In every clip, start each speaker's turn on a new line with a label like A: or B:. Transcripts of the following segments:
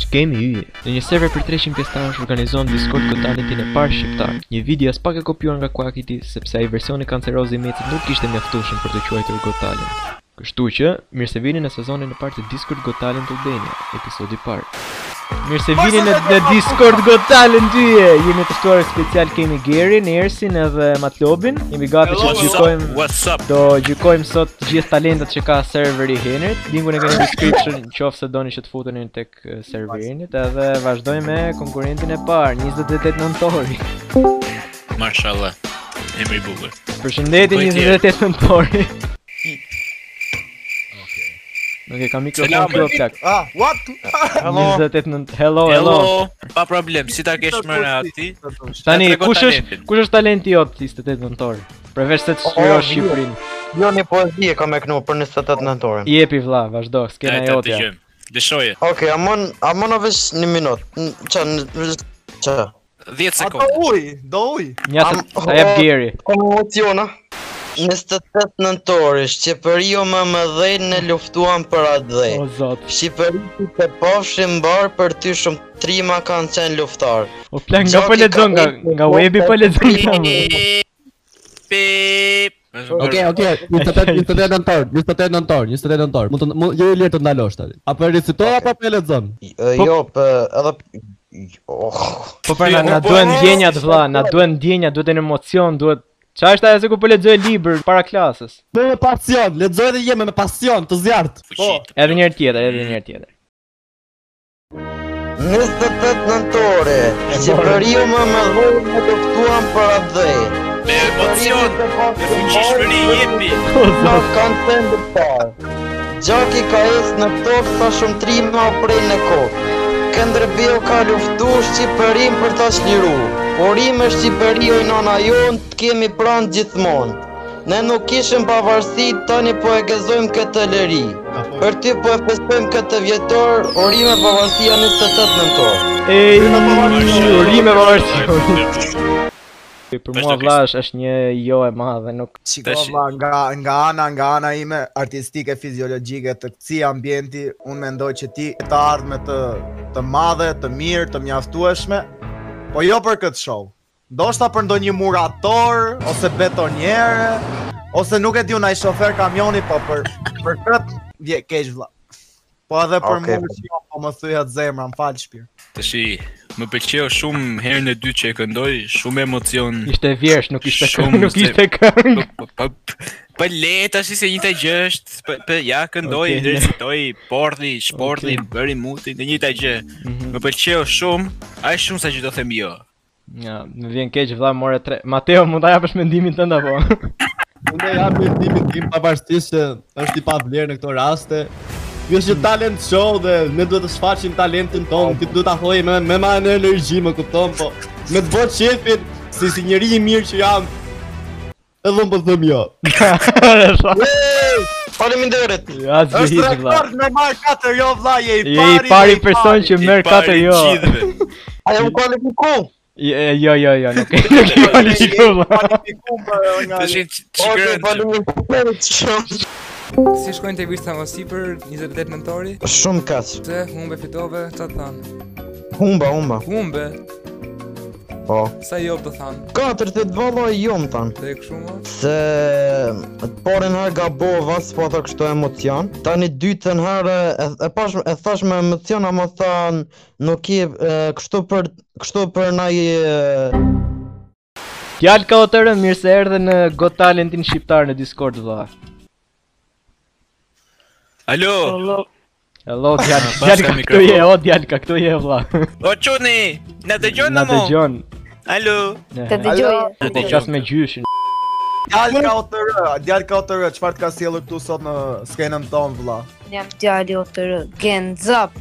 A: Shkemi yje. Në një server për 300 pjesëtarësh organizohen Discord ku talentin e parë shqiptar. Një video as pak e kopjuar nga Quackity sepse ai versioni kanceroz i mecit nuk ishte mjaftueshëm për të quajtur Got Talent. Kështu që, mirë se vini në sezonin e parë të Discord Got Talent Albania, episodi i parë. Mirë se vini në, në Discord Got Talent yje. Jemi të ftuar special kemi Gerin, Ersin edhe Matlobin. Jemi gati që të gjykojmë
B: What's up?
A: Do gjykojmë sot të gjithë talentet që ka serveri i Henrit. Linkun e keni në description nëse doni që të futeni tek eh, serveri i Henrit edhe vazhdojmë me konkurrentin e parë, 28 nëntori.
B: Mashallah. Emri i bukur.
A: Përshëndetje
B: Po i tjerë.
A: 28 nëntori. Nuk e kam mikrofon
B: Selam.
A: këtu plak.
C: Ah, what?
A: 28 nëntori. Hello, Oh, hello.
B: Hello. Pa problem, si ta kesh më në ati?
A: Tani
B: Na trego
A: kush është
B: talentin.
A: kush është talenti jot 28 nëntor? Përveç se të
C: Oh,
A: shkruash
C: mirë.
A: Shqipërinë.
C: Jo një poezi e kam e kënu për 28 nëntorin.
A: Jepi vlla, vazhdo, skena jotja.
B: gjëmë. Dëshoje.
C: Okej, amon, amon ovesh një minut. N- Qa, në... Qa?
B: 10
D: A do
B: sekonda.
D: uj, do uj.
A: Nja se
C: Am-
A: ta jep Geri.
C: Emociona. 28 nëntori, Shqipëriu më më dhejnë në luftuan për atë dhej.
A: O zot.
C: Shqipëriu të pofshim barë për ty shumë trima kanë qenë luftarë.
A: O plan nga
C: Zoki
A: po lexon nga
C: ka ujë,
A: nga
C: po,
A: webi po
C: po,
A: lexon nga më.
B: Pip.
E: Okej, okej, 28 28 nëntor, 28 nëntor, 28 nëntor. Mund të mund je i lirë të ndalosh tani. Apo e recitoj apo e lexon?
C: I- e,
A: Po-
C: Jo, për edhe... Oh,
A: Po pra na, na duhen ndjenjat vlla, na duhen ndjenja, duhet një emocion, duhet Qa është ajo se ku po lexoj libër para klasës?
E: Me pasion, lexoj dhe jemi me pasion, të zjart.
A: Edhe një herë tjetër, edhe një herë tjetër.
C: 28 nëntore, Shqipëriu më më dhejnë në luftuan për atë dhej.
B: Me emocion, me fuqishmëri jepi.
C: Në kanë të ndërtar Gjaki ka esë në tokë sa shumë trima o prej në kokë Këndërbio ka luftu Shqipërin për ta shliru Porim e Shqipëriu i nana jonë të kemi pranë gjithmonë Ne nuk kishim pavarësi, tani po e gëzojmë këtë lëri Për ty po e festojmë këtë vjetor, orime pavarësia 28 nëntor
A: Ej,
B: Mashallah.
A: urime pavarësi. Për mua
B: Vazhdo,
A: vlla është- është një jo e madhe, nuk
D: Shiko
B: Tash-
D: vlla, nga nga ana nga ana ime artistike fiziologjike të këtij ambienti, unë mendoj që ti ke të ardhme të të madhe, të mirë, të mjaftueshme, po jo për këtë show. Ndoshta për ndonjë murator ose betonjere, ose nuk e di unaj shofer kamioni, po për për këtë vje keq vlla. Po edhe për
C: Okej.
D: okay. mua shiko, po më thyhet zemra, më fal shpirt.
B: Të shi, më pëlqeu shumë herën e dytë që e këndoj, shumë emocion.
A: ishte vjersh, nuk ishte
B: Shumë
A: këngë, nuk
B: se-
A: ishte këngë.
B: Po le tash se një të gjë është, po- po ja këndoj,
A: Okej, le.
B: recitoj, porti, shporti,
A: Okej.
B: bëri muti, të njëjta gjë.
A: Mhm.
B: Më pëlqeu shumë, aq shumë sa që do them jo.
A: Ja, më vjen keq vlla, more tre. Mateo, mund ta japësh mendimin tënd apo?
E: Unë jam me timin tim pavarësisht që është i pavlerë në këto raste. Ky është një talent show dhe ne duhet të shfaqim talentin tonë, ti duhet ta hojë me me më energji, më kupton, po me të bëj shefin si si njëri i mirë që jam. Edhe unë po them jo.
C: Faleminderit!
A: Asgjë
D: Është
A: hiç vlla.
D: rekord me marr 4 jo vlla, je i
A: Je i
D: pari.
A: pari person që merr
B: I pari
A: katër jo.
B: gjithëve.
C: Aja më kualifiku!
A: Je- Jo, jo, jo, nuk e nuk e
D: Je i
A: validova.
D: kualifikum për nga
B: Të shi
C: Okej,
B: çikën.
C: faleminderit shumë!
F: Si shkojnë të virsa më sipër 28 nëntori
C: Shumë kaq,
F: Se humbe fitove, qa të thanë?
C: humba, humba,
F: Humbe,
C: po.
F: sa jo të thanë
C: 4-8 valla e jom tanë
F: Dhe e këshu më
C: Se të parën herë gabova s'po tha kështu emocion Tani dytën herë e, e, pash, e thash me emocion ama than Nuk je e, kështu për kështu për na i e,
A: Fjalë ka o të rënë, mirë se erdhe në Got Talentin shqiptar në Discord vëlla.
B: Alo,
A: Hello djalë,
B: pas
A: djalë
B: ka
A: ka këtu
B: mikrofon.
A: je, o djalë ka këtu je vëlla.
B: o Çuni, na dëgjon
A: Na
B: apo?
A: dëgjon.
B: Alo.
G: Të
A: Ne,
D: dëgjoje.
G: dëgjoje.
B: Të dëgjoj.
A: Qas me gjyshin.
D: Djalë ka OTR, djalë ka OTR, çfarë të ka sjellur këtu sot në skenën tonë vëlla?
G: Jam djali o të rë. Genz up.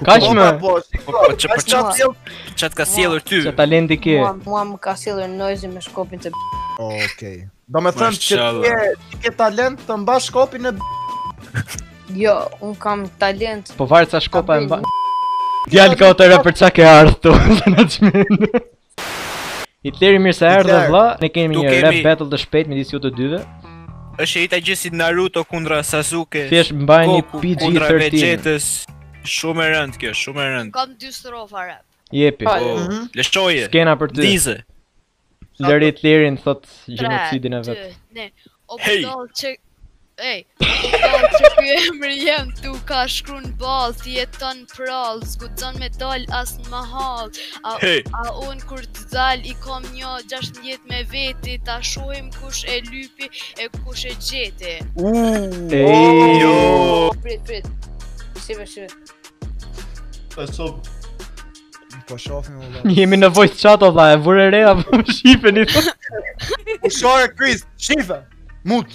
A: Kaq
D: Po,
A: më.
D: po, po,
B: Po,
D: shiko,
B: po, që-
D: tash
B: po, që-
D: ka sjell-
B: Çat ka sjellur ty?
A: Çfarë talenti ke?
G: Mua, mua më ka sjellur noizi me shkopin të b***.
D: Okej. Do me thëmë që ti
B: Mashallah.
D: je- ti ke talent të mbash kopin e b***.
G: Jo, un kam talent.
A: Po varet sa shkopa e mba.
G: Abel.
A: Djalë ka o të rënë për çka ke ardhur këtu. se na çmend. Hitleri mirë se erdhe
D: Hitler.
A: vëlla. Ne kemi
B: Tu
A: një rap
B: kemi-
A: battle të shpejt midis ju të dyve.
B: Është e njëjta gjë si Naruto kundra Sasuke.
A: Thjesht mbajeni
B: Goku kundra
A: PG-13.
B: Vegetës.
E: Shumë e rëndë kjo, shumë e rëndë.
H: Kam dy strofa rap.
A: Jepi.
E: Po,
D: Mhm.
E: lëshoje.
A: Skena për ty.
E: Dize.
A: Lërit Lirin thot
H: Tre,
A: gjenocidin e
H: dy,
A: vet.
H: Ne. O
E: Hey!
H: budall që Ej, o budall që ky emri jem tu ka shkru në ball, ti jeton prall, zgudzon me dal as në mahall. A,
E: Hey.
H: a un kur të dal i kom një 16 me veti, ta shohim kush e lypi e kush e gjeti.
A: Ej,
E: Jo.
I: Prit, prit. Shive, shive.
J: Po shumë.
D: Po shohim valla.
A: jemi në voice chat o vlla, e vure re apo më shifeni?
D: Ushore Kris, shife. Mut.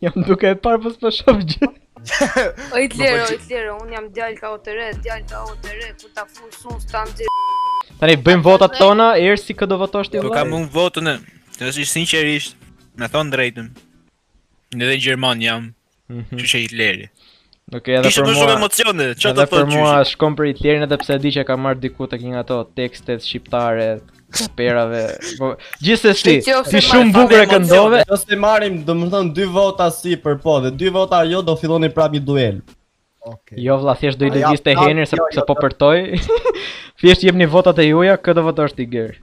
A: Jam duke e parë pos po shoh gjë.
I: O i t'lero, o i t'lero, unë jam djalë ka OTR, djalë ka OTR, ku ta fush unë s'ta nxirë.
A: Tani bëjmë votat tona, erë si kë do votosh ti
E: Po kam
A: vlla?
E: unë votën e. Nëse ishtë sinqerisht, me thonë drejtën. Në dhe Gjerman jam,
A: Mhm.
E: që që Hitleri.
A: Okej, edhe
E: Kishtë
A: për
E: më shumë
A: mua.
E: emocione, që
A: Edhe
E: të
A: për
E: thotë
A: mua
E: që
A: shkon për Hitlerin edhe pse di që ka marr diku tek një nga ato tekstet shqiptare perave. Po gjithsesi,
I: Shqiptio se
A: ti
I: marr
E: fame
A: shumë bukur e
E: emocione.
A: këndove.
J: Nëse marrim, domethënë dy vota si për po dhe dy vota jo do filloni prapë një duel.
D: Okej.
A: Jo vlla, thjesht do i
D: A, ja,
A: lëviz te
D: ja,
A: Henir se
D: jo,
A: se
D: jo,
A: po përtoj. Thjesht jepni votat e juaja, kë do votosh ti Ger.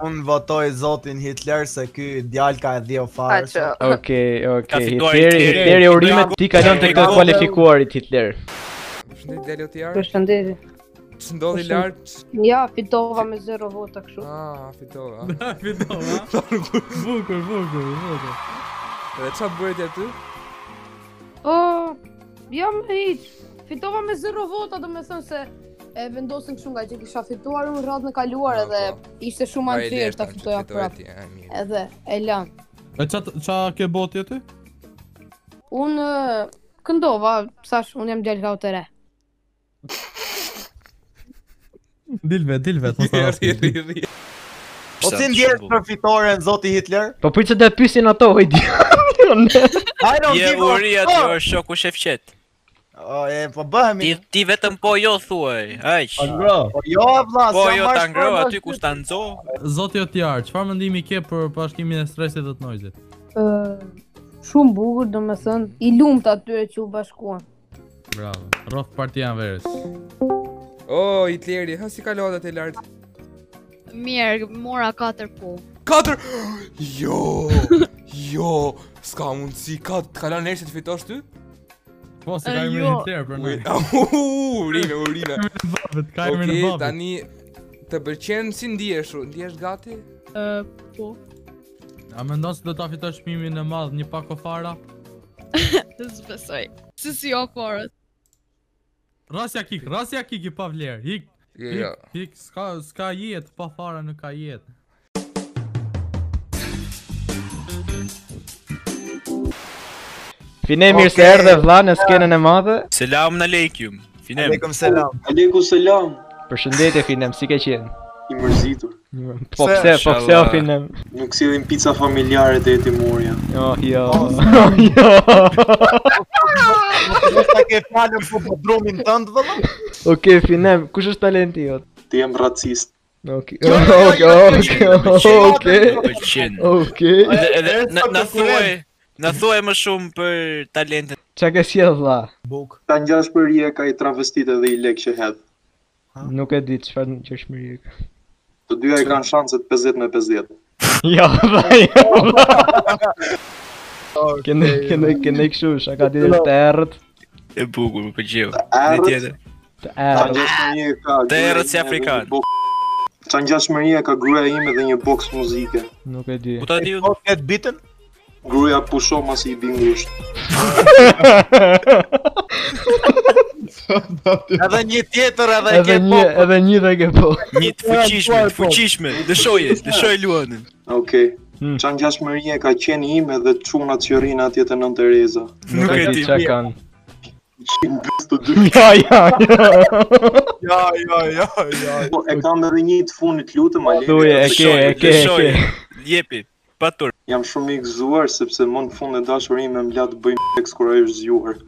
D: Unë votoj zotin Hitler se ky djalë ka e dhjo
I: A
D: farë.
I: që,
A: Okej,
E: Ka
A: okej.
E: fituar
A: Hitleri,
E: Hitleri.
A: Hitleri urimet ti kalon tek të
J: Bravo.
A: kualifikuarit Hitler.
F: Përshëndet djalë OTR.
I: përshëndetje.
F: Ç'ndodhi lart?
I: Ja, fitova me 0 vota kështu.
F: Ah, fitova.
K: Fitova. Bukur, bukur, bukur.
F: Edhe ç'a bëri ti aty?
L: O, jam e hiq. Fitova me 0 vota, do me thënë se e vendosin kështu nga që kisha fituar unë radhën e kaluar
F: Ah,
L: edhe
F: po.
L: ishte
A: Pra
L: shumë
F: Ai
L: anëfirë ta fitoja prapë.
F: prapë.
L: Edhe e lan.
K: E qa, qa ke boti aty?
L: Unë e, këndova, sash, unë jam djalë ka të re.
K: Dilve, dilve, të mos të
F: Rri,
K: rastin.
F: rri, rri.
D: O Po si ndjerë për fitoren zoti Hitler?
A: Po prit se do e pyesin ato, oj di.
D: I don't
E: Je
D: give a
E: uri aty
D: fuck!
E: është shoku shefqet.
D: O, e, po
E: Ti
D: bëhemi.
E: ti vetëm po jo thuaj. Aq.
J: Angro.
D: Po jo, vla,
E: Po
D: s'jam
E: jo
D: marrë
E: ta ngro
D: shpër,
E: aty ku sta nxo.
K: Zoti Otjar, çfarë mendimi ke për bashkimin e stresit dhe të nojzit?
L: Shumë bukur, do me thënë, i lumt atyre që u bashkuan.
K: Bravo. Rof partijan verës.
F: O, Hitleri, ha si kalon atë lart?
H: Mirë, mora 4 po.
F: Katër! Jo! Jo! S'ka mundësi, ka të kalon nërë se të fitosh ty?
K: Po, se
H: E,
K: ka emrin
H: jo.
K: Hitler për
F: Ui,
K: ne.
F: au, urime, urime.
K: Babet, ka emrin e
F: Okej,
K: babit.
F: tani të pëlqen si ndihesh? u? Ndihesh gati?
K: A mendon se do ta fitosh çmimin e madh, një pako fara?
H: Zbesoj. Si si jo korët.
K: Rasja kik, rasja kik i pa vlerë. Hik,
F: Jo, jo.
E: Hm?
K: hik, hik, s'ka, s'ka jetë, pa fara nuk ka jetë.
A: Fine mirë se
D: Okej.
A: erdhe vlla në skenën e madhe.
E: Selam aleikum. Finem.
D: Aleikum selam.
M: Aleku selam,
A: Përshëndetje Finem, si ke qenë?
M: i mërzitër.
A: Po
D: Se-
A: pse, po pse o
E: Shala.
A: Finem?
M: Nuk sillim pizza familjare te Timurja.
A: Jo, jo.
D: Oh,
A: Jo.
D: Nuk ta ke falën po për drumin tënd vëlla?
A: Okej, Finem, kush është talenti jot?
M: Ti jam racist.
A: Okej.
D: Jo, jo, jo,
A: Okej,
D: jo,
A: okej,
D: jo, jo, jo,
A: okej.
D: jo,
E: Pëlqen.
A: Okej.
E: Edhe edhe
D: Erë,
E: na-
D: sot
E: na
D: të
E: thuaj,
D: fillojmë.
E: na thuaj më shumë për talentin.
A: Çka ke sjell vlla?
D: Buk.
M: Ta ngjash për je ka i travestit edhe i lek që hedh.
A: Nuk e di çfarë gjëshmëri ke.
M: Të dyja i kanë shanset 50 me 50.
A: Jo, vlla, jo. Kene, kene, kene këshu, shaka di të erët,
E: E bukur, më pëlqeu. Dhe
M: Erët,
E: tjetër.
A: të
M: ta
A: erët.
M: ngjash për je ka.
E: Dhe
M: gruaja
E: erët si
M: ime dhe
E: afrikan.
M: një box- Ta ngjash për je ka gruaja ime dhe një box muzike.
A: Nuk e di.
E: Ku ta diu?
D: Po ket bitën?
M: Gruaja pusho masi i bingusht.
D: Edhe një tjetër edhe e
A: Edhe
D: ke po.
A: një, edhe një dhe ke po.
E: Një të fuqishme, të fuqishme. Dëshoje, dëshoj Luanën.
M: Okej.
A: Hmm.
M: Ça ngjash për je ka qeni ime dhe çunat që rrinë atje te Nën Tereza.
E: Nuk e di.
A: çka kanë. jo,
M: Të dy.
A: Ja, ja, ja.
D: Jo, jo, jo, jo.
M: Po, e kam edhe një të funit lutem Aleku.
A: Thuaj, e ke, e ke, e
E: Lëshoj,
A: ke.
E: Jepi, patur.
M: Jam shumë i gëzuar sepse më në fund e dashurime më la të bëj seks kur ai është zgjuar.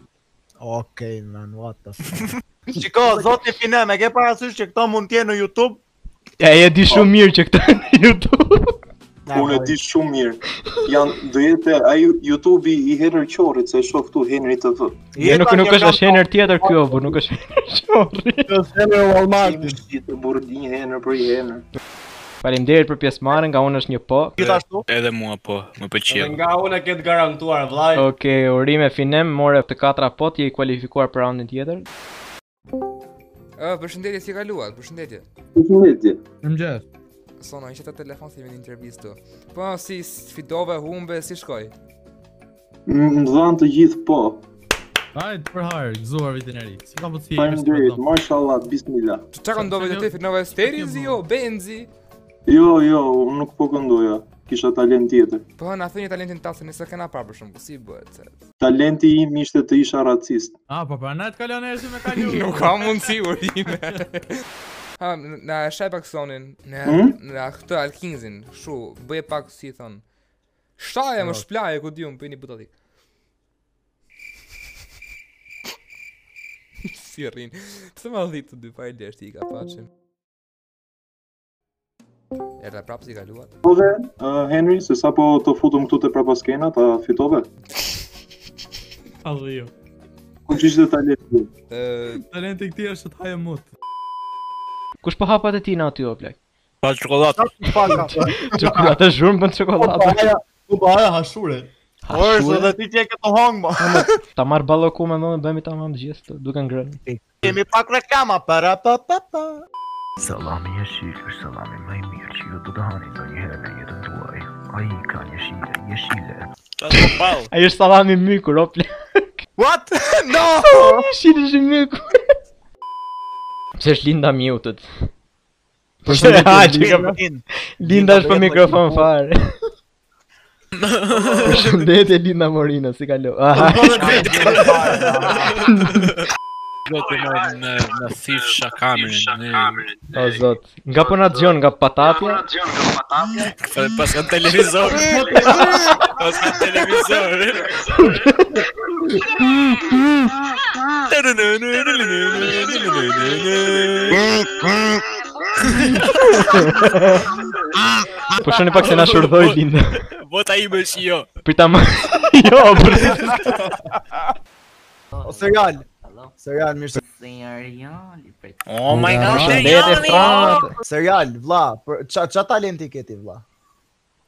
D: Okej, man, what the fuck. Shiko, zoti Finem, e ke parasysh që këto mund t'jenë në YouTube?
M: Po.
A: Ja, e di shumë mirë që këtë në YouTube.
D: Na,
M: Unë e
D: po.
M: di shumë mirë. Jan do jetë ai YouTube-i i Henry Qorrit, se e shoh këtu Henry TV.
A: Jo, nuk nuk është as Henër tjetër kjo, por nuk është.
M: Henry Walmart. Burr di një Henry për një Henry.
A: Faleminderit për pjesëmarrjen, nga unë është një po.
B: Gjithashtu. Edhe mua po, më pëlqeu.
E: Nga unë e ketë garantuar, vllai.
A: Okej, urime finem, more të katra pot, je i kualifikuar për raundin tjetër.
F: Ë, përshëndetje si e kaluat, përshëndetje.
M: Përshëndetje.
K: Mëngjes.
F: Sona, ishe të telefon se jemi në intervistë. Po, si s- fitove, humbe, si shkoj?
M: Më dhanë të gjithë po.
K: Hajt për harë, gëzuar vitin e ri. Si ka pëtë
M: Faleminderit, mashallah, bismillah.
F: Qa këndove të ti, fitnove Sterizi, jo, Benzi?
M: Jo, jo, unë nuk po këndoja. Kisha talent tjetër.
F: Po, na thënë talentin tasë, nëse kena parë për shumë, si bëhet se...
M: Talenti im ishte të isha racist.
K: A, po pra, na të kalon e si me kalu.
F: Nuk ka mundësi urime. Ha, n- na shaj pak sonin, në
M: Hmm?
F: na këtë alkinzin, shu, bëje pak si i thonë. Shtaje më shplaje, ku di unë, për një butati. si rrin. Pse ma dhitë të dy pa i lesht i ka paqim. Erda prapë si i kaluat.
M: Po dhe, uh, Henry, se sa po të futëm këtu të prapaskena, ta fitove?
K: Allo jo.
M: Ku që ishte talenti?
K: Talenti këti është të hajë mut.
A: Kush po hapat e tina aty o plak?
B: Pa çokoladë.
A: Çokoladë zhurmë bën
D: Po,
A: çokoladë.
E: U bëra hashure.
D: Orso dhe ti që e këtë hongë po. mo.
A: Ta marr balloku me më bëhemi tamam të gjithë, të- duke ngrënë.
D: Kemi pak reklama, para pa pa pa.
N: Salami e shilë është salami më i mirë që ju do të hani të njëherë në jetën tuaj. A i ka një shile, një shile.
A: Ai është sallami i mykur o plak.
D: What? No!
A: Një shile është i mykur. Pse është Linda muted? Pse
D: Përshëndetje,
A: ha, që ka
D: Po, Linda.
A: Linda është për mikrofon fare. Përshëndetje Linda Morina, si Ah, kalo. Aha.
B: Do të më në në thirr shakamin.
A: O zot, nga po na dëgjon nga patatja.
B: Pas ka televizor. Pas ka televizor.
A: Po shoni pak se na shurdhoi Linda.
B: Vota ime është jo.
A: Prita më. Jo, për.
D: O serial. Serial, mirë se...
B: Oh my god,
D: Seriali!
B: seriali!
D: Serial, vla, për, qa, qa talenti keti, vla?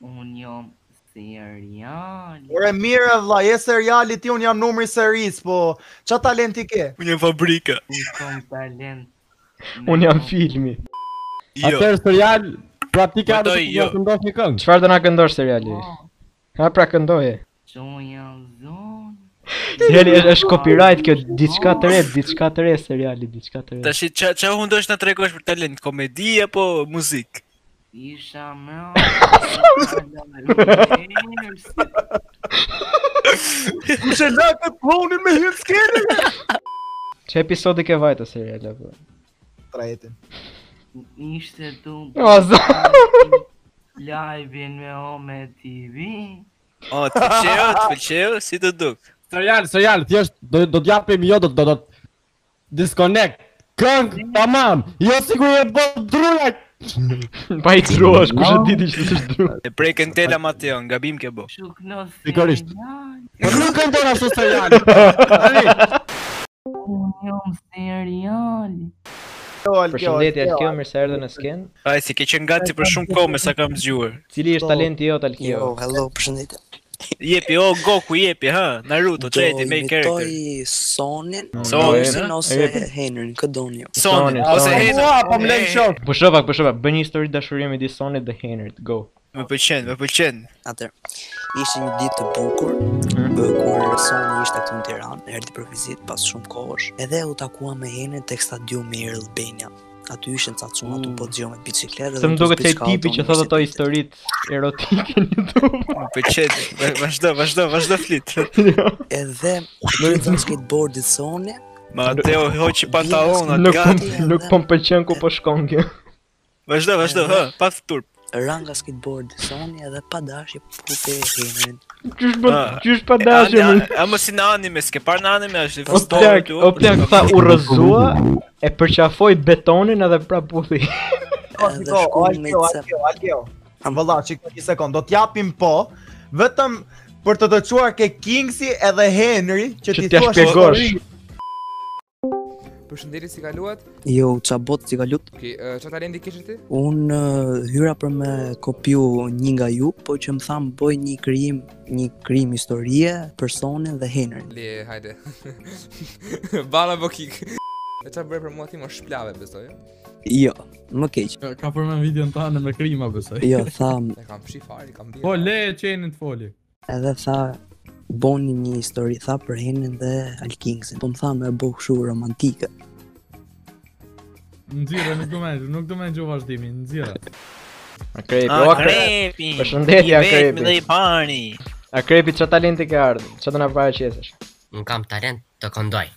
O: Unë jam serial.
D: Ore mirë vlla, je seriali ti, un jam numri i seris, po qa talenti ke?
B: Unë jam fabrika.
O: Unë kam talent.
A: Un jam filmi.
E: Jo. Atëherë serial, pra ti ka të jo. këndosh një këngë.
A: Çfarë do na këndosh seriali? Ha pra këndoje.
O: Që unë jam zonë.
A: Seriali është- është copyright kjo, diçka të re, diçka të re seriali, diçka të re.
B: Tash ç'a ç'a hundosh na tregosh për talent, komedi apo muzikë?
O: Isha më...
D: Kush e la këtë punin me hyrë skenin?
A: Çe episodi ke vajta seriali apo?
D: Trajetin.
O: Ishte tu...
A: O, zo-
O: Live-in me Ome TV.
B: O, të pëlqeu, të pëlqeu, si të duk.
E: Serial, serial, thjesht do do t'japim jo do do do disconnect. Këngë, tamam. Jo sigur e bë druja.
A: Pa i truash, kush e diti që është dru.
B: E prekën tela Mateo, gabim ke bo.
E: Pikërisht.
B: Po
E: nuk këndon ashtu serial.
O: Unë jam serial.
A: Përshëndetje Alkio, mirë se erdhe në sken.
B: Ai si ke qenë gati për shumë kohë me sa kam zgjuar.
A: Cili
B: Po,
A: është talenti jot Alkio?
P: Jo, hello, përshëndetje.
B: Jepi, o Goku jepi, ha, Naruto, çeti, me
P: Do
B: character.
P: imitoj Sonin,
B: Sonin,
P: Sonin
B: ha?
P: ose
B: Jepi.
P: Henryn, këtë doni ju.
B: Sonin, ose Henry.
A: Po shopak, po shopak, bëj një histori dashurie midis Sonit dhe Henrit. Go.
B: Më pëlqen, më pëlqen.
P: Atër, ishte një ditë të bukur, mm. kur Soni ishte këtu në Tiranë, erdhi për vizitë pas shumë kohësh, edhe u takua me Henryn tek stadiumi i Albania. Aty ishin ca cunat u po dëgjoj me biçikletë
A: Se më duket se ai tipi që thotë ato historit erotike në YouTube.
B: Më pëlqen. Vazhdo, vazhdo, vazhdo flit.
P: Edhe u prit në skateboardit Soni.
B: Mateo hoqi pantallonat,
A: Nuk po
B: gati.
A: nuk po më pëlqen ku po shkon kjo.
B: Vazhdo, vazhdo, ha, pa turp.
P: Ranga skateboard Soni edhe pa dashje pupe e Henryn.
A: Qysh po,
B: bën,
A: qysh pa dashje, më-
B: A mos si në anime, s'ke parë në anime, është
A: O Po plak, o plak tha u rrëzua e përqafoi betonin edhe pra prapulli.
P: Edhe shkon me
D: Alkio,
P: ca
D: Alkio, Alkio. Valla, çik një sekond, do t'japim po, vetëm për të të çuar ke Kingsi edhe Henry që,
A: Që
D: ti
A: t'ja
D: thua
A: shpjegosh.
F: Përshëndetje si kaluat.
P: Jo, qa botë si ka lutë,
F: Okej, okay, çfarë talenti kishe ti?
P: Unë uh, hyra për me kopju një nga ju, po që më thamë bëj një krijim, një krijim historie, personin dhe Henrin.
F: Le, hajde. Bala po kik. E çfarë bëre për mua ti më shplave besoj. jo?
P: Jo, më keq.
K: Ka përmen videon të anë me krima, besoj.
P: Jo, tham,
F: E kam shi fare, kam bie.
K: Po, le e qenin të foli.
P: edhe tha boni një histori, tha për Henrin dhe Alkingsin. Po më tha me bëj kështu romantike.
K: Nxirë, nuk do me nuk do me gjuh vazhdimin, nxirë.
A: Akrepi,
K: Ah,
A: o akrepi.
K: Akrepi.
A: Përshëndetje
K: I vetmi
A: akrepi.
K: dhe i
A: pari. Akrepi çfarë talenti ke ardhur? Çfarë do na paraqesesh?
Q: Unë kam talent të këndoj.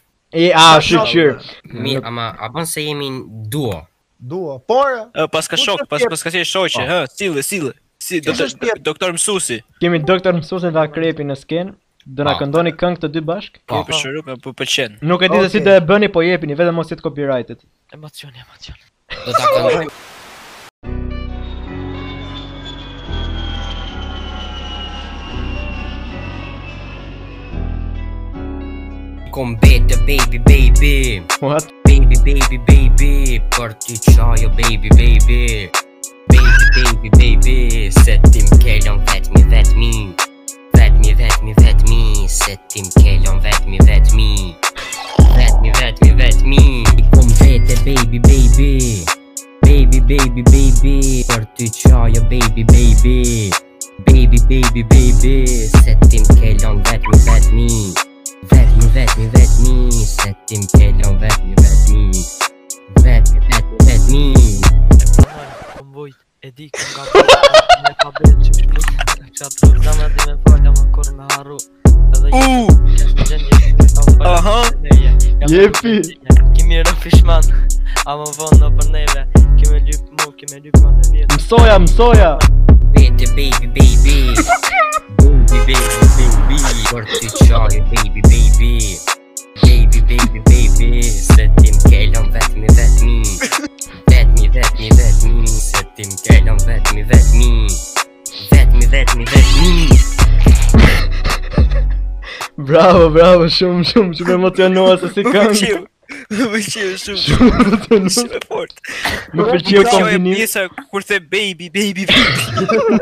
A: E a shqyr.
Q: Mi, ama, a bën se jemi në duo.
D: Dua, por
B: Ë, pas ka shok, pas pas ka qenë shoqe,
A: Po.
B: hë, sille, sille. Si do të doktor mësuesi.
A: Kemi doktor mësuesin dhe akrepi në sken. Do na
B: Po.
A: këndoni këngë të dy bashk?
B: Po, për shërup, po pëlqen.
A: Ah. Nuk e di se si do e bëni, po jepini vetëm mos jetë copyrighted.
B: Emocion, emocion.
Q: Do ta këndoj. Kom bete baby baby
A: What?
Q: Baby baby baby Për ty qajo baby baby Baby baby baby Se ti m'kellon vetmi vetmi Vetmi vetmi vetmi Se ti m'kellon vetmi vetmi Vetmi vetmi vetmi Kom bete baby baby Baby baby baby Për ty qajo baby baby Baby baby baby Se ti m'kellon vetmi vetmi Vetmi, vetmi, vetmi, se ti më kelon vetmi, vetmi Vetmi, vetmi, vetmi
R: Kombojt, e di këm nga bërë me tabel që shpik Qa të rëzama dhe me falja ma kur me harru Edhe
B: U!
R: Aha
E: Jepi.
R: Kimi rë fishman Ama vonë në për neve Kimi lyp mu, kimi lyp ma të vjetë
A: Mësoja, mësoja.
Q: Vete baby, baby Baby, baby, baby Por ty qaj, baby, baby Baby, baby, baby Se ti më kelon vetmi, vetmi Vetmi, vetmi, vetmi Se ti më kelon vetmi, vetmi Vetmi, vetmi, vetmi
A: Bravo, bravo, shumë, shumë, shumë emocionova se si këngë.
B: Më pëlqeu
A: Shumë
B: shumë.
A: emocionuar.
B: Shumë e fortë.
A: Më pëlqeu
B: e
A: kombinimi.
B: pjesa kur the baby, baby, baby.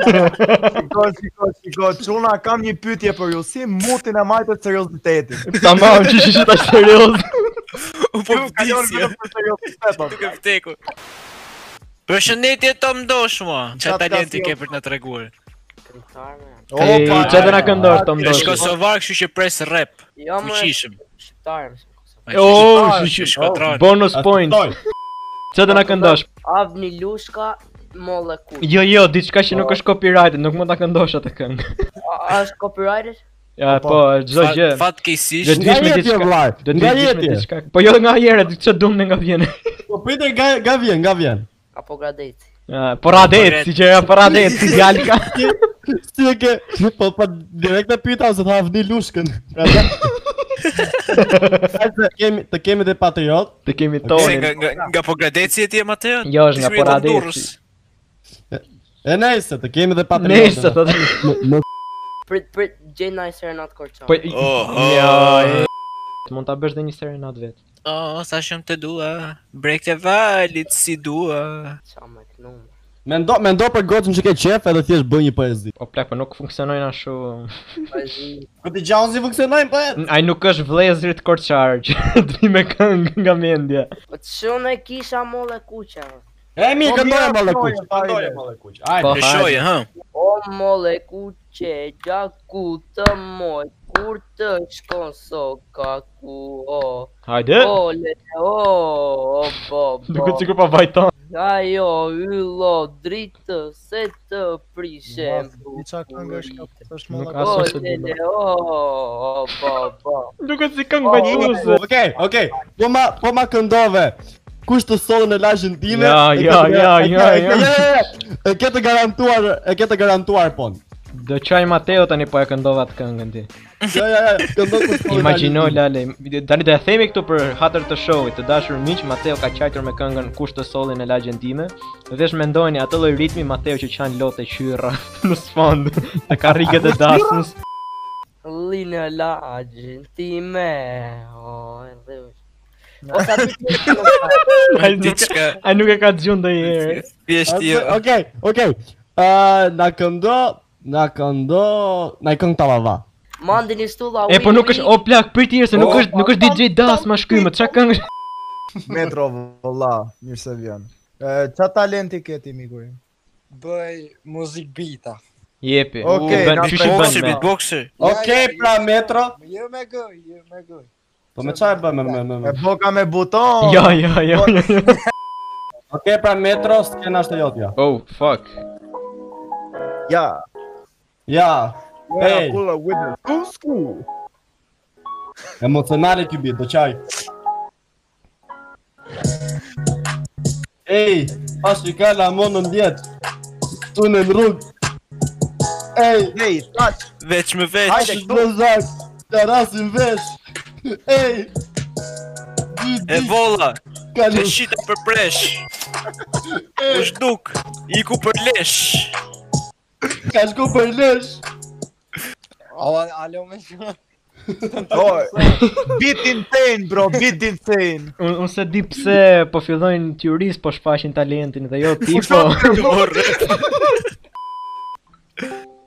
D: Shiko, shiko, shiko, çuna kam një pyetje për ju, si mutin e majtët seriozitetin?
A: Tamam, që që që tash serioz.
B: U po vdisje. Duke vdekur. Përshëndetje të mdosh mua. Qa
D: Qatë
B: talenti
D: ka
B: ke për të na treguar?
A: Ej, çfarë do na këndosh të
B: Është
A: mdosh?
B: kosovar, kështu që pres rap.
R: Jo, më-
B: Fuqishëm.
R: Shqiptarë mësë
A: Oh, shi- shi- bonus point. Çfarë do na këndosh?
R: Avni Lushka Molle Kuj
A: Jo, jo, diçka që
B: Po.
A: nuk është copyrighted, nuk mund ta këndosh atë këngë.
R: A- është copyrighted?
A: Ja, po, çdo
B: Fat-
A: gjë.
B: fatkeqësisht-
A: Do të dish
B: Nga
A: me
B: jeti,
A: diçka.
B: vllai,
A: Do të
B: nga
A: dish me
B: jeti.
A: diçka. Po jo nga herë, ç'të dumne nga vjen.
E: Po priter ga, ga vjen, ga vjen.
R: Apo gradejt
A: Ah, Poradet, si që ja poradet, si djalë ka.
E: Si e ke, po pa direkt e pyta ose tha avni lushkën. Pra, ta- Sa Të kemi të kemi dhe patriot.
A: Të kemi
B: Se Nga nga nga Pogradeci e ti e Mateo?
E: Jo, është nga
B: Ti shkruaj
A: po
B: në
E: Poradeci.
B: Durrës.
E: E nejse, të kemi dhe patriot.
A: Nejse, të të-
R: Prit, prit, gjej nicer not korqa
A: Po jo. e- Mund ta bësh dhe një serenad vet.
B: O, sa shumë të dua, brek të valit si dua.
R: Qa me kënu
E: Mendo, mendo për gocën që ke qef edhe thjesht bëj një poezi.
A: O plak, po nuk funksionojnë ashtu.
E: Po ti gjaun si funksionojnë po.
A: N- Ai nuk është vëllezrit korçar që të vi me këngë nga mendja.
R: Po të shumë e kisha molle kuqa
E: E mi,
R: Po,
E: këndojë
R: mirë,
E: molle
R: këndoje,
E: kuq.
R: fajde.
E: Këndojë molle kuq. Hajde.
A: Po, Lëshoje, hajde.
R: O molle kuqe, gja ku të moj Kur të shkon soka ku o
A: Hajde.
B: Po,
R: O le o o bo bo
A: Duket sikur pa vajton.
R: Ajo yllo dritë se të prishem
D: Diçka këngë është kjo, është
A: Nuk
D: molla.
A: as
R: O
A: ose
R: le
A: duma.
R: le o o bo bo
A: Duket si
B: Po,
A: këngë Po.
E: vajtuese. Okej, okej. Po ma po ma këndove. Kush të sollën në lajën time?
A: Ja,
E: e
A: ja,
E: këtë-
A: ja,
E: e
A: ja,
E: këtë- e
A: ja.
E: këtë- e këtë- E ke të garantuar, po. e ke të garantuar pon.
A: Do qaj Mateo tani po e këndova të këngën ti.
E: Ja, ja, ja, këndon kur
A: Po,
E: shkoj.
A: Imagjino Lale, tani do e themi këtu për hatër të showit, të dashur miq, Mateo ka qajtur me këngën Kush të solli në lagjen time. Vesh mendojeni atë lloj ritmi Mateo që qan lotë qyrra në sfond, e ka rriget e dasmës.
S: Li në lagjën time O, e dhe O sa ti
A: Ai nuk, ai nuk e ka dëgjuar ndonjëherë.
B: Thjesht jo.
E: Okej, okej. Ë, na këndo, na këndo, na këng tavava.
S: Mandi një stulla
A: E po nuk është o plak prit tjerë se nuk është nuk është DJ Das ma shkrim, çka këngë është?
D: Metro valla, mirë se vjen. Ë, Qa talenti ke ti miku im?
T: Bëj muzik bita.
A: Jepi.
D: Okej,
A: bën
D: na
A: qysh i
D: beatboxi,
A: bën.
D: beatboxi.
E: Okej, pra Metro.
T: Jo me goj, jo me goj.
E: Po me çfarë bën me me me- me?
D: E boka me buton.
A: Jo, jo, jo, jo, jo.
E: Okej, pra Metro, skena është e jotja.
A: Oh, fuck.
D: Ja.
E: Ja. Hey,
D: pull up with the cool.
E: emocionale ky bit, do çaj. Ej, pas i ka la monë në djetë Tu në në rrugë Ej,
D: ej, tash
B: Veç me veç.
E: Hajde, këtu zak Të rasin vesh Ej
B: E volla.
E: Ka
B: Të shita për presh. U shduk, iku për lesh.
E: Ka shku për lesh
T: Alo, alo me shumë.
D: O, bit insane bro, bit insane.
A: Unë un se di pse po fillojnë tjuris po shfaqin talentin dhe jo ti po.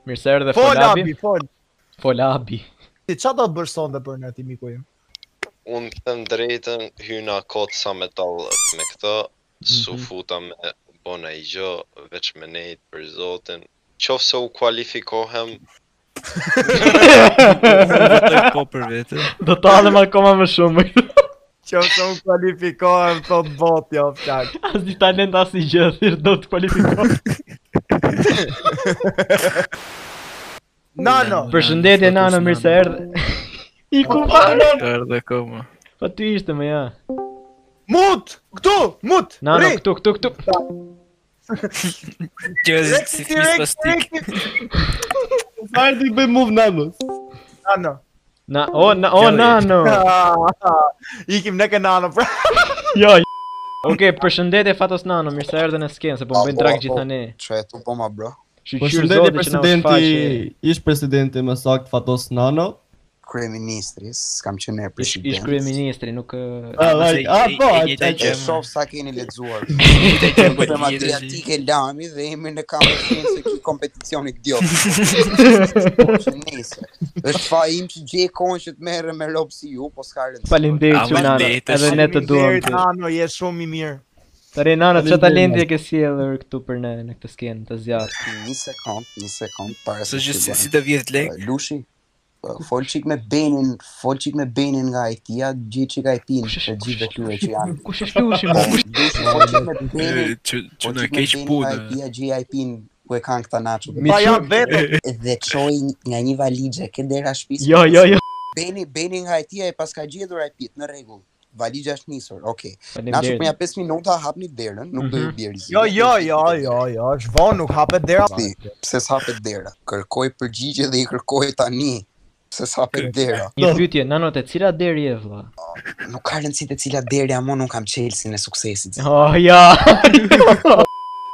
A: Mirë se erdhe
D: Fol
A: Folabi.
D: abi, fol.
A: Folabi.
D: Ti çfarë do të bësh sonte për ne ti miku im?
U: Unë të them drejtën, hyna kotë sa me tallet. Me këta, su
D: Mhm.
U: futa me bona i gjë, veç me nejtë për zotin. Qofë se u kualifikohem,
B: Vetoj po për vete.
A: Do të hallem akoma më shumë.
D: Që se unë kualifikohem, thot bot, jo, fjak.
A: As di talent as i gjë, thirr do të kualifikohem.
D: Nano.
A: Përshëndetje Nano, mirë se erdhe. Iku Nano.
B: Erdhe koma.
A: Po ti ishte më ja.
D: Mut! Këtu! Mut!
A: Nano,
D: Ri!
A: këtu, këtu, këtu.
B: Që si fis pas tik.
E: Farë të i bëj move nanës
D: Nano.
A: Na, o, na, o, Nano.
D: Ah, Ikim ne ke nano, pra.
A: Jo. j- Okej, përshëndetje Fatos Nano, mirë se erdhe në skenë, se po më bën drag gjithë ne.
T: Çe tu po ma bro.
E: Përshëndetje presidenti, ish presidenti më sakt Fatos Nano
T: Kryeministris, s'kam qenë e
A: Ish,
T: president.
A: ish kryeministri, nuk... ë,
E: Ah, vaj,
A: se-
E: ah,
A: i-
E: po,
A: i- i
E: ai-
A: njëjta
E: ai-
A: gjë.
T: E shoh sa keni lexuar.
A: po,
T: Tema
A: tjetër,
T: atike lami dhe emrin e kam përshtypjen se ki kompeticion i idiot. Po, që Nice. Është fa im që gjej kohën që të merrem me lop si ju, po s'ka rëndësi.
A: Faleminderit që Nano, edhe ne të duam
D: Faleminderit,
A: të.
D: Nano, je shumë i mirë.
A: Tare Nano, çfarë
D: Faleminderit.
A: talenti e ke sjellur këtu për ne në këtë skenë të zjarrit?
T: Një sekond, një sekond, para
B: Së gjithë si- si
T: të vjetë lek. Lushi, uh, fol qik me benin, fol qik me benin nga IT-a, gjithë qik IT-n, të gjithë dhe tyre që janë.
A: Kush është Lushi, mo? Po, Kush-
T: Lushi, fol qik me benin,
B: Që që
T: fol
B: në
T: qik me
B: keq
T: benin nga
B: punë.
T: IT-a, gjithë IT-n, ku e kanë këta nacho.
B: Mi Pa qoj-
D: jo,
B: janë vetëm.
T: Dhe qoj nga një valigje, ke dera shtëpisë.
A: Jo, jo, jo.
T: Beni, beni nga IT-a e paska gjetur IT-t, në rregull. Valigja është nisur, okay.
A: Faleminderit.
T: Na shumë për ja 5 minuta hapni derën, nuk do ju bjerë
D: Jo, jo, jo, jo, jo, është vonë, nuk hapet dera.
T: Si, pse s'hapet dera? Kërkoj përgjigje dhe i kërkoj tani. Pse s'hapet dera?
A: Një pyetje, Nano, te cila deri e vlla?
T: Nuk ka rëndësi te cila deri, ama unë kam Chelsea-n e suksesit.
A: Oh, ja.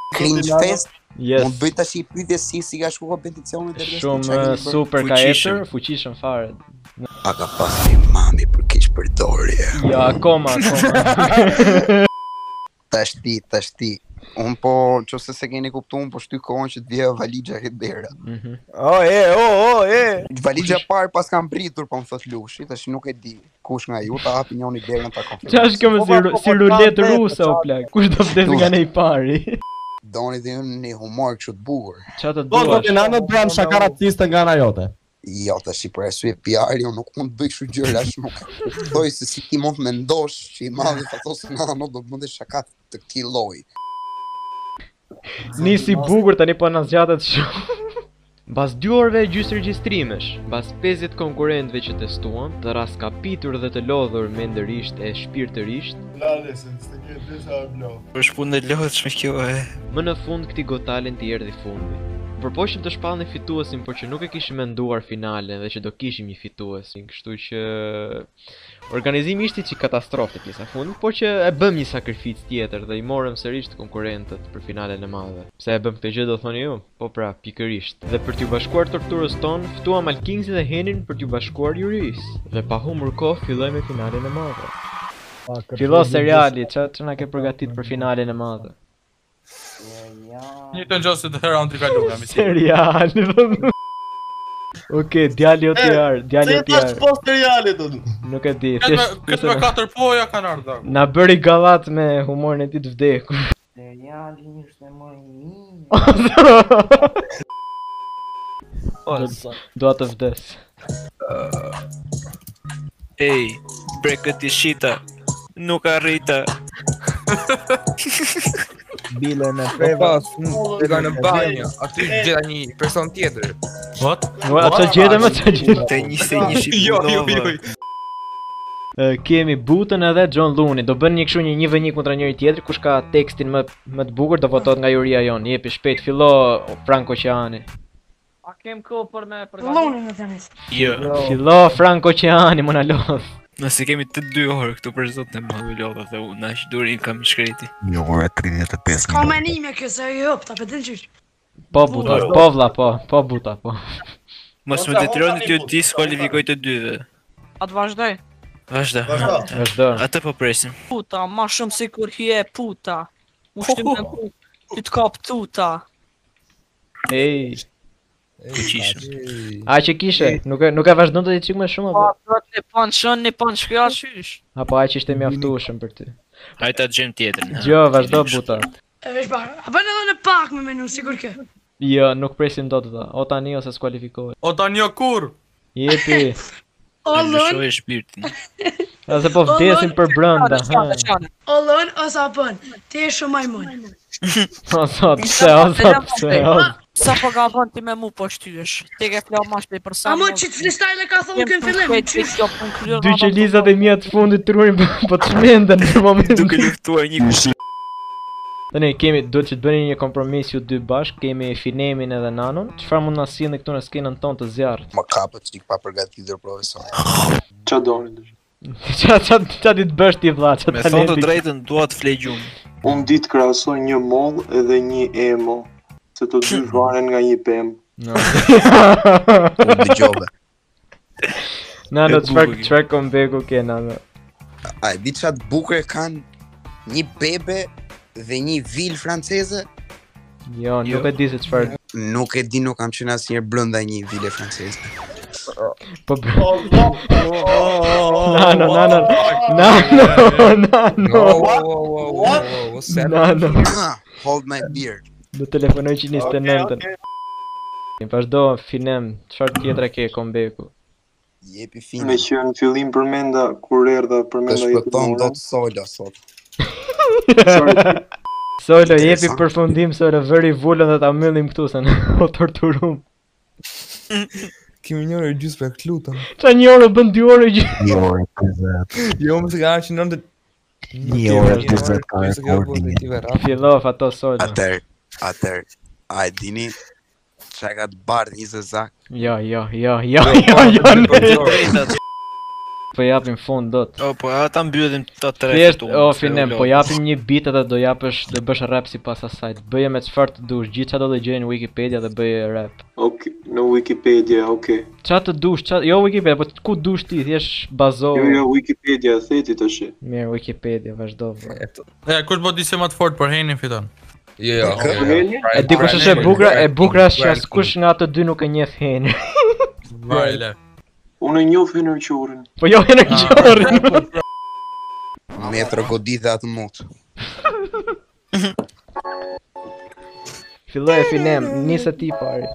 T: Cringe fest.
A: Yes.
T: Unë bëj tash i pyetje si si ka shkuar kompeticionet e rreth
A: Shumë
T: çka
A: ë,
D: eh,
T: keni bërë?
A: super ka ecur, fuqishëm fare.
T: A ka pas një mami për keq përdorje.
A: Ja, akoma, akoma.
T: Tash ti, tash ti. Un po, nëse se keni kuptuar, un po shty kohën që të vijë valixha e dera.
A: Mhm.
T: O e, o, o e. Valixha e parë pas kam pritur, po më thot Lushi, tash nuk e di kush nga ju ta hapi njëri derën ta konfirmoj.
A: Qa është kjo me si, ru- si rulet ruse o plak? Kush do vdes nga ne i pari?
T: Doni dhe unë një humor kështu të bukur.
A: Qa të
E: Do të të
A: duash?
E: nanë bram shaka raciste nga ana jote
T: Jo, të shi për e sui PR, jo nuk mund të bëj kështu gjëra, as nuk e kuptoj se si ti mund të mendosh që i madhi të thosë nga në do të mëndesh shaka të këtij lloji.
A: Nisi bukur tani po na zgjatet shumë. Mbas 2 orëve gjysë regjistrimesh, mbas 50 konkurrentëve që testuan, të raskapitur dhe të lodhur mendërisht e shpirtërisht,
E: Lale, se të kje të sa blo
B: Për shpunë e lodhshme kjo e.
A: më në fund këtij gotalen të erdhi fundi. U përpoqëm të shpallni fituesin, por që nuk e kishim menduar finalen dhe që do kishim një fitues, kështu që organizimi ishte që katastrofë te pjesa e fundit, por që e bëm një sakrificë tjetër dhe i morëm sërish konkurrentët për finalen e madhe. Pse e bëm këtë gjë do thoni ju? Po pra, pikërisht. Dhe për t'ju bashkuar torturës tonë, ftuam Alkingsin dhe Henin për t'ju bashkuar Juris. Dhe pa humbur kohë filloi me finalen e madhe. Fillo seriali, që, që na ke përgatit për finalen e madhe.
K: Një të ngjose të round i kaluar mi
A: Serial, vëmë. Oke,
D: Eh,
A: djali o tjarë, djali o
E: Se tash
A: tjarë.
E: po serialit unë
A: Nuk e di,
K: Këtë me-
A: thjesht-
K: këtë me katër poja kanë ardhur.
A: Na bëri gallat me humorin e tij të vdekur.
O: Seriali ishte më i mirë.
A: Do- Dua të vdes.
B: Ej, bre këti shita, nuk arrita.
D: Bile në
F: Po
D: preva.
F: pas, unë e ka në banjë, aty gjeta një person tjetër.
K: What?
A: Ua, atë gjete më atë gjete.
F: Te një se një shqip
B: Jo, jo,
F: punove.
B: jo.
A: Ë, Kemi Butën edhe John Luni. Do bën një kështu një 1v1 kundra njëri tjetri, kush ka tekstin më më të bukur do votohet nga juria jon. Jepi shpejt fillo Frank Oqeani.
R: A kem kohë për me
G: Luni më tani.
B: Jo.
D: Oh.
A: Fillo Frank Oqeani, më na lodh.
B: Nëse kemi të dy orë këtu për zotë në madhu lodha dhe unë, na që durin kam shkreti.
N: Një orë e 35
G: Ka menime kjo se jo, ta pëtën qysh.
A: Po Buta, po vlla, po, po Buta, po.
B: Mos më detyroni ty ti skualifikoj të dyve.
R: A të vazhdoj?
B: Vazhda.
R: Vazhdo.
A: Vazhdo.
B: Atë po presim.
R: Puta, ma shumë si kur hje puta. Ushtim në puta, ti të kap tuta.
A: Ej.
B: Fuqishëm.
A: A që kishe, nuk e nuk e vazhdon të çik më shumë apo?
R: Pa, thot një pan shën, një pan shkja qysh.
A: Apo ai që ishte mjaftueshëm për ty.
B: Hajta të gjem tjetër.
A: Jo, vazhdo Buta.
G: E vesh bar. A bën edhe në pak me menu sigur kë.
A: Jo, nuk presim dot vëlla. O tani ose skualifikohet.
K: O tani o kur?
A: Jepi.
G: O lon,
B: e shpirtin.
A: Ase po vdesim për brenda. ha.
G: o lon ose apën. Ti je shumë majmun.
A: O sot, pse, o sot, pse, o sot.
R: Sa po ka bën ti me mu po shtyesh. Ti ke fla ma shpejt për sa.
G: A mo çit freestyle ka thonë kën fillim. qysh.
A: Dy qelizat e mia të fundit trurin po- po të shmenden në moment. Duke
B: luftuar një kush.
A: Tani kemi duhet që të bëni një kompromis ju dy bashk, kemi Finemin edhe Nanon. Çfarë mund na sillni këtu në skenën tonë të zjarrit?
T: Më kapët çik pa përgatitur profesor.
M: Qa doni të
A: Ça ça ça ti të bësh ti vlla, ça
B: Me thonë të drejtën, dua të flej gjumë.
M: Unë ditë krahasoj një moll edhe një emo, se të dy varen nga një pemë.
A: U
T: dëgjove.
A: Nano
T: E
A: çfarë
T: bukur.
A: çfarë kombeku ke Nano?
T: A e di çat bukur kanë një bebe dhe një vil franceze?
A: Jo, nuk e di se çfarë.
T: Nuk e di, nuk kam qenë asnjëherë brenda një vile franceze.
A: Po Nano, nano, nano, nano. Nano.
T: Ah, Hold my beer.
A: Do telefonoj 129-ën. Vazhdo Finem, çfarë tjetra ke kombeku?
T: Jepi
M: Me që në fillim përmenda, kur erdha përmenda i të
T: shpëton dot sola sot.
A: Solo, jepi përfundim Solo, vëri vullën dhe ta mbyllim këtu se ne o torturum.
F: Kemi një orë gjysmë për klutën.
A: Qa një orë bën dy orë gjë.
N: Një orë e 50.
F: Jo, më të ka që nëndë...
N: Një orë e 50 ka recording.
A: Fillof ato Solo.
T: Atër, atër, a e dini çka ka të bardh një zezak?
A: Jo, jo, jo, jo, jo,
T: Jo, po,
A: jo,
T: po,
A: ne.
T: po,
B: Drejtat.
A: Po japim fund dot.
B: O, po ata mbyllim të tre
A: Thjesht, o finem, po japim një bit edhe do japësh, do bësh rap sipas asaj. Bëje me çfarë të dush, gjithë çfarë do të gjej në Wikipedia dhe bëje rap.
M: Ok, në Wikipedia, ok.
A: Çfarë të dush, çfarë, jo Wikipedia, po ku dush ti, thjesht bazo.
M: Jo, jo, Wikipedia, theti të shi.
A: Mirë, Wikipedia, vazhdo. vë.
K: E kush bë disi më të fortë për Henin fiton.
F: Jo, jo,
A: Kë?
K: pra-
T: Pra,
A: E di kush është e bukra, e bukra është që askush nga ato dy nuk e njeh Henry.
K: Vale.
M: Unë e njoh Henry Qurën.
A: Po jo Henry Qorrin.
T: Metro godit dhe atë mut.
A: Filloj e finem, nisë ti pari.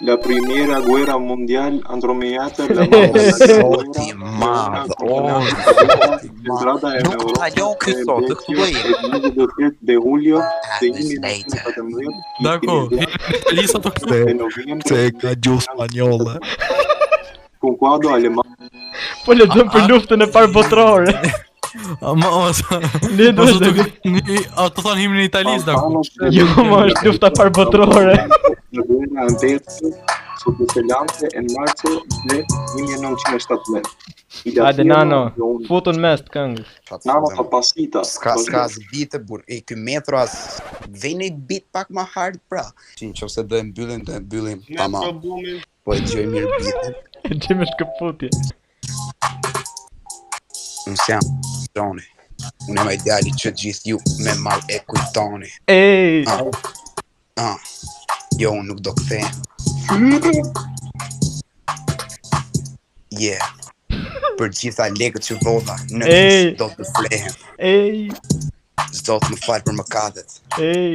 M: La primera guerra mundial andromediata la
T: Zoti i madh, o zoti i madh.
M: Entrada e
T: Nuk ta lëu ky sot, Ah, të këtu do jemi.
M: de julio de
K: Dako, Lisa të
N: Se e ka gjuhë spanjolle.
M: Con kuadro aleman.
A: Po lexojmë për luftën e parë botërore.
V: Mos.
A: Ne do
V: mos
A: të-
V: duket një- a të thon himnin italisë da.
A: Jo, ma është lufta parbotrore.
M: Në vjen në Andes, sot në Selante, në Marco, dhe 1917. Ila
A: Hajde
C: jo.
M: firma,
A: nano,
M: dhe unë-
A: futun mes të këngës.
M: Nano pa pasita.
T: Ska, ska as bitë, bur, e ky metro as vjen i bit pak më hard pra. Që në qoftë se do e mbyllim, do e mbyllim tamam. Po e dëgjoj mirë bitën.
A: E gjem është këputje.
T: Unë se jam Joni. Unë jam ai djali që gjithë ju me mal e kujtoni.
A: Ej!
T: Ah. Ah. Jo, unë nuk do kthehem. Yeah. Për gjitha lekët që vota në
A: Ej!
T: do të flehem.
A: Ej!
T: Zdo të më falë për mëkatet.
A: Ej!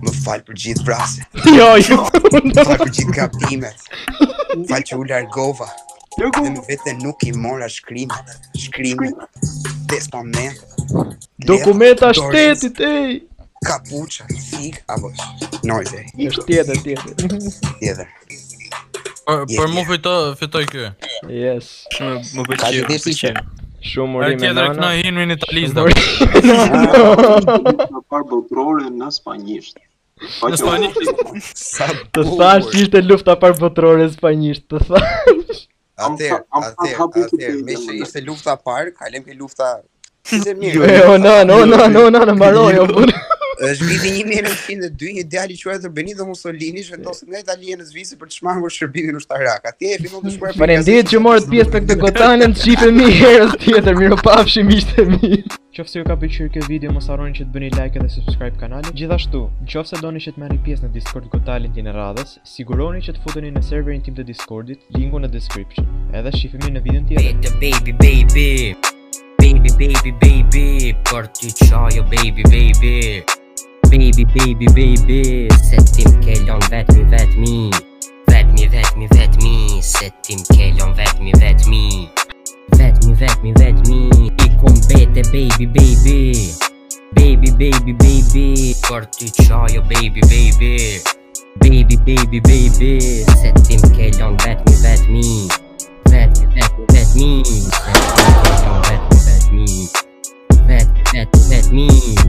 T: Më falë për gjithë vrasje.
A: Jo, jo.
T: Më falë për gjithë gabimet. Më falë që u largova. Dhe më vete nuk i mora shkrimet. Shkrimet. Testament.
A: Dokumenta
T: Dorez.
A: shtetit, ej!
T: Kapuqa. Fik. Apo. Nojde.
A: Është tjetër, tjetër.
T: Tjetër.
V: Për, për mu fito, fitoj ky.
A: Yes.
B: Më
T: pëlqeu, më pëlqeu.
A: Shumë
V: Herë
A: urime
V: tjetër kënoj
A: nana.
V: himnin italisë da.
M: Në parë botrore në spanjisht. Në spanjisht.
A: Të thash që ishte lufta parbotrore spanjisht, të thash.
T: Atëherë, atëherë, atëherë, me që ishte lufta parë, kalem ke lufta... Ishte
M: Jo,
T: mirë.
A: E, o nana, o nana, o nana, mbaroj, o burë.
T: është viti 1902, një djalë i quajtur Benito Mussolini shvendoset nga Italia në Zvicër për të shmangur shërbimin ushtarak. Atje e fillon të shkuar
A: Faleminderit që morët pjesë në këtë gotalën, shihemi herën tjetër, mirupafshim miqtë e mi. Qofse ju ka pëlqyer kjo video, mos harroni që të bëni like dhe subscribe kanalin. Gjithashtu, nëse doni që të merrni pjesë në Discord Gotalin e radhës, siguroni që të futeni në serverin tim të Discordit, linku në description. Edhe shihemi në videon tjetër.
Q: Bitte baby baby Baby baby baby Parti qajo baby baby Baby baby baby Se tim kelon vetmi vetmi Vetmi vetmi vetmi Se tim kelon vetmi vetmi Vetmi vetmi vetmi I kom bete baby baby Baby baby baby Parti qajo baby baby Baby baby baby Se tim kelon vetmi vetmi Vet, vet, vet me. Vet, vet, vet me. Vet, vet, vet me.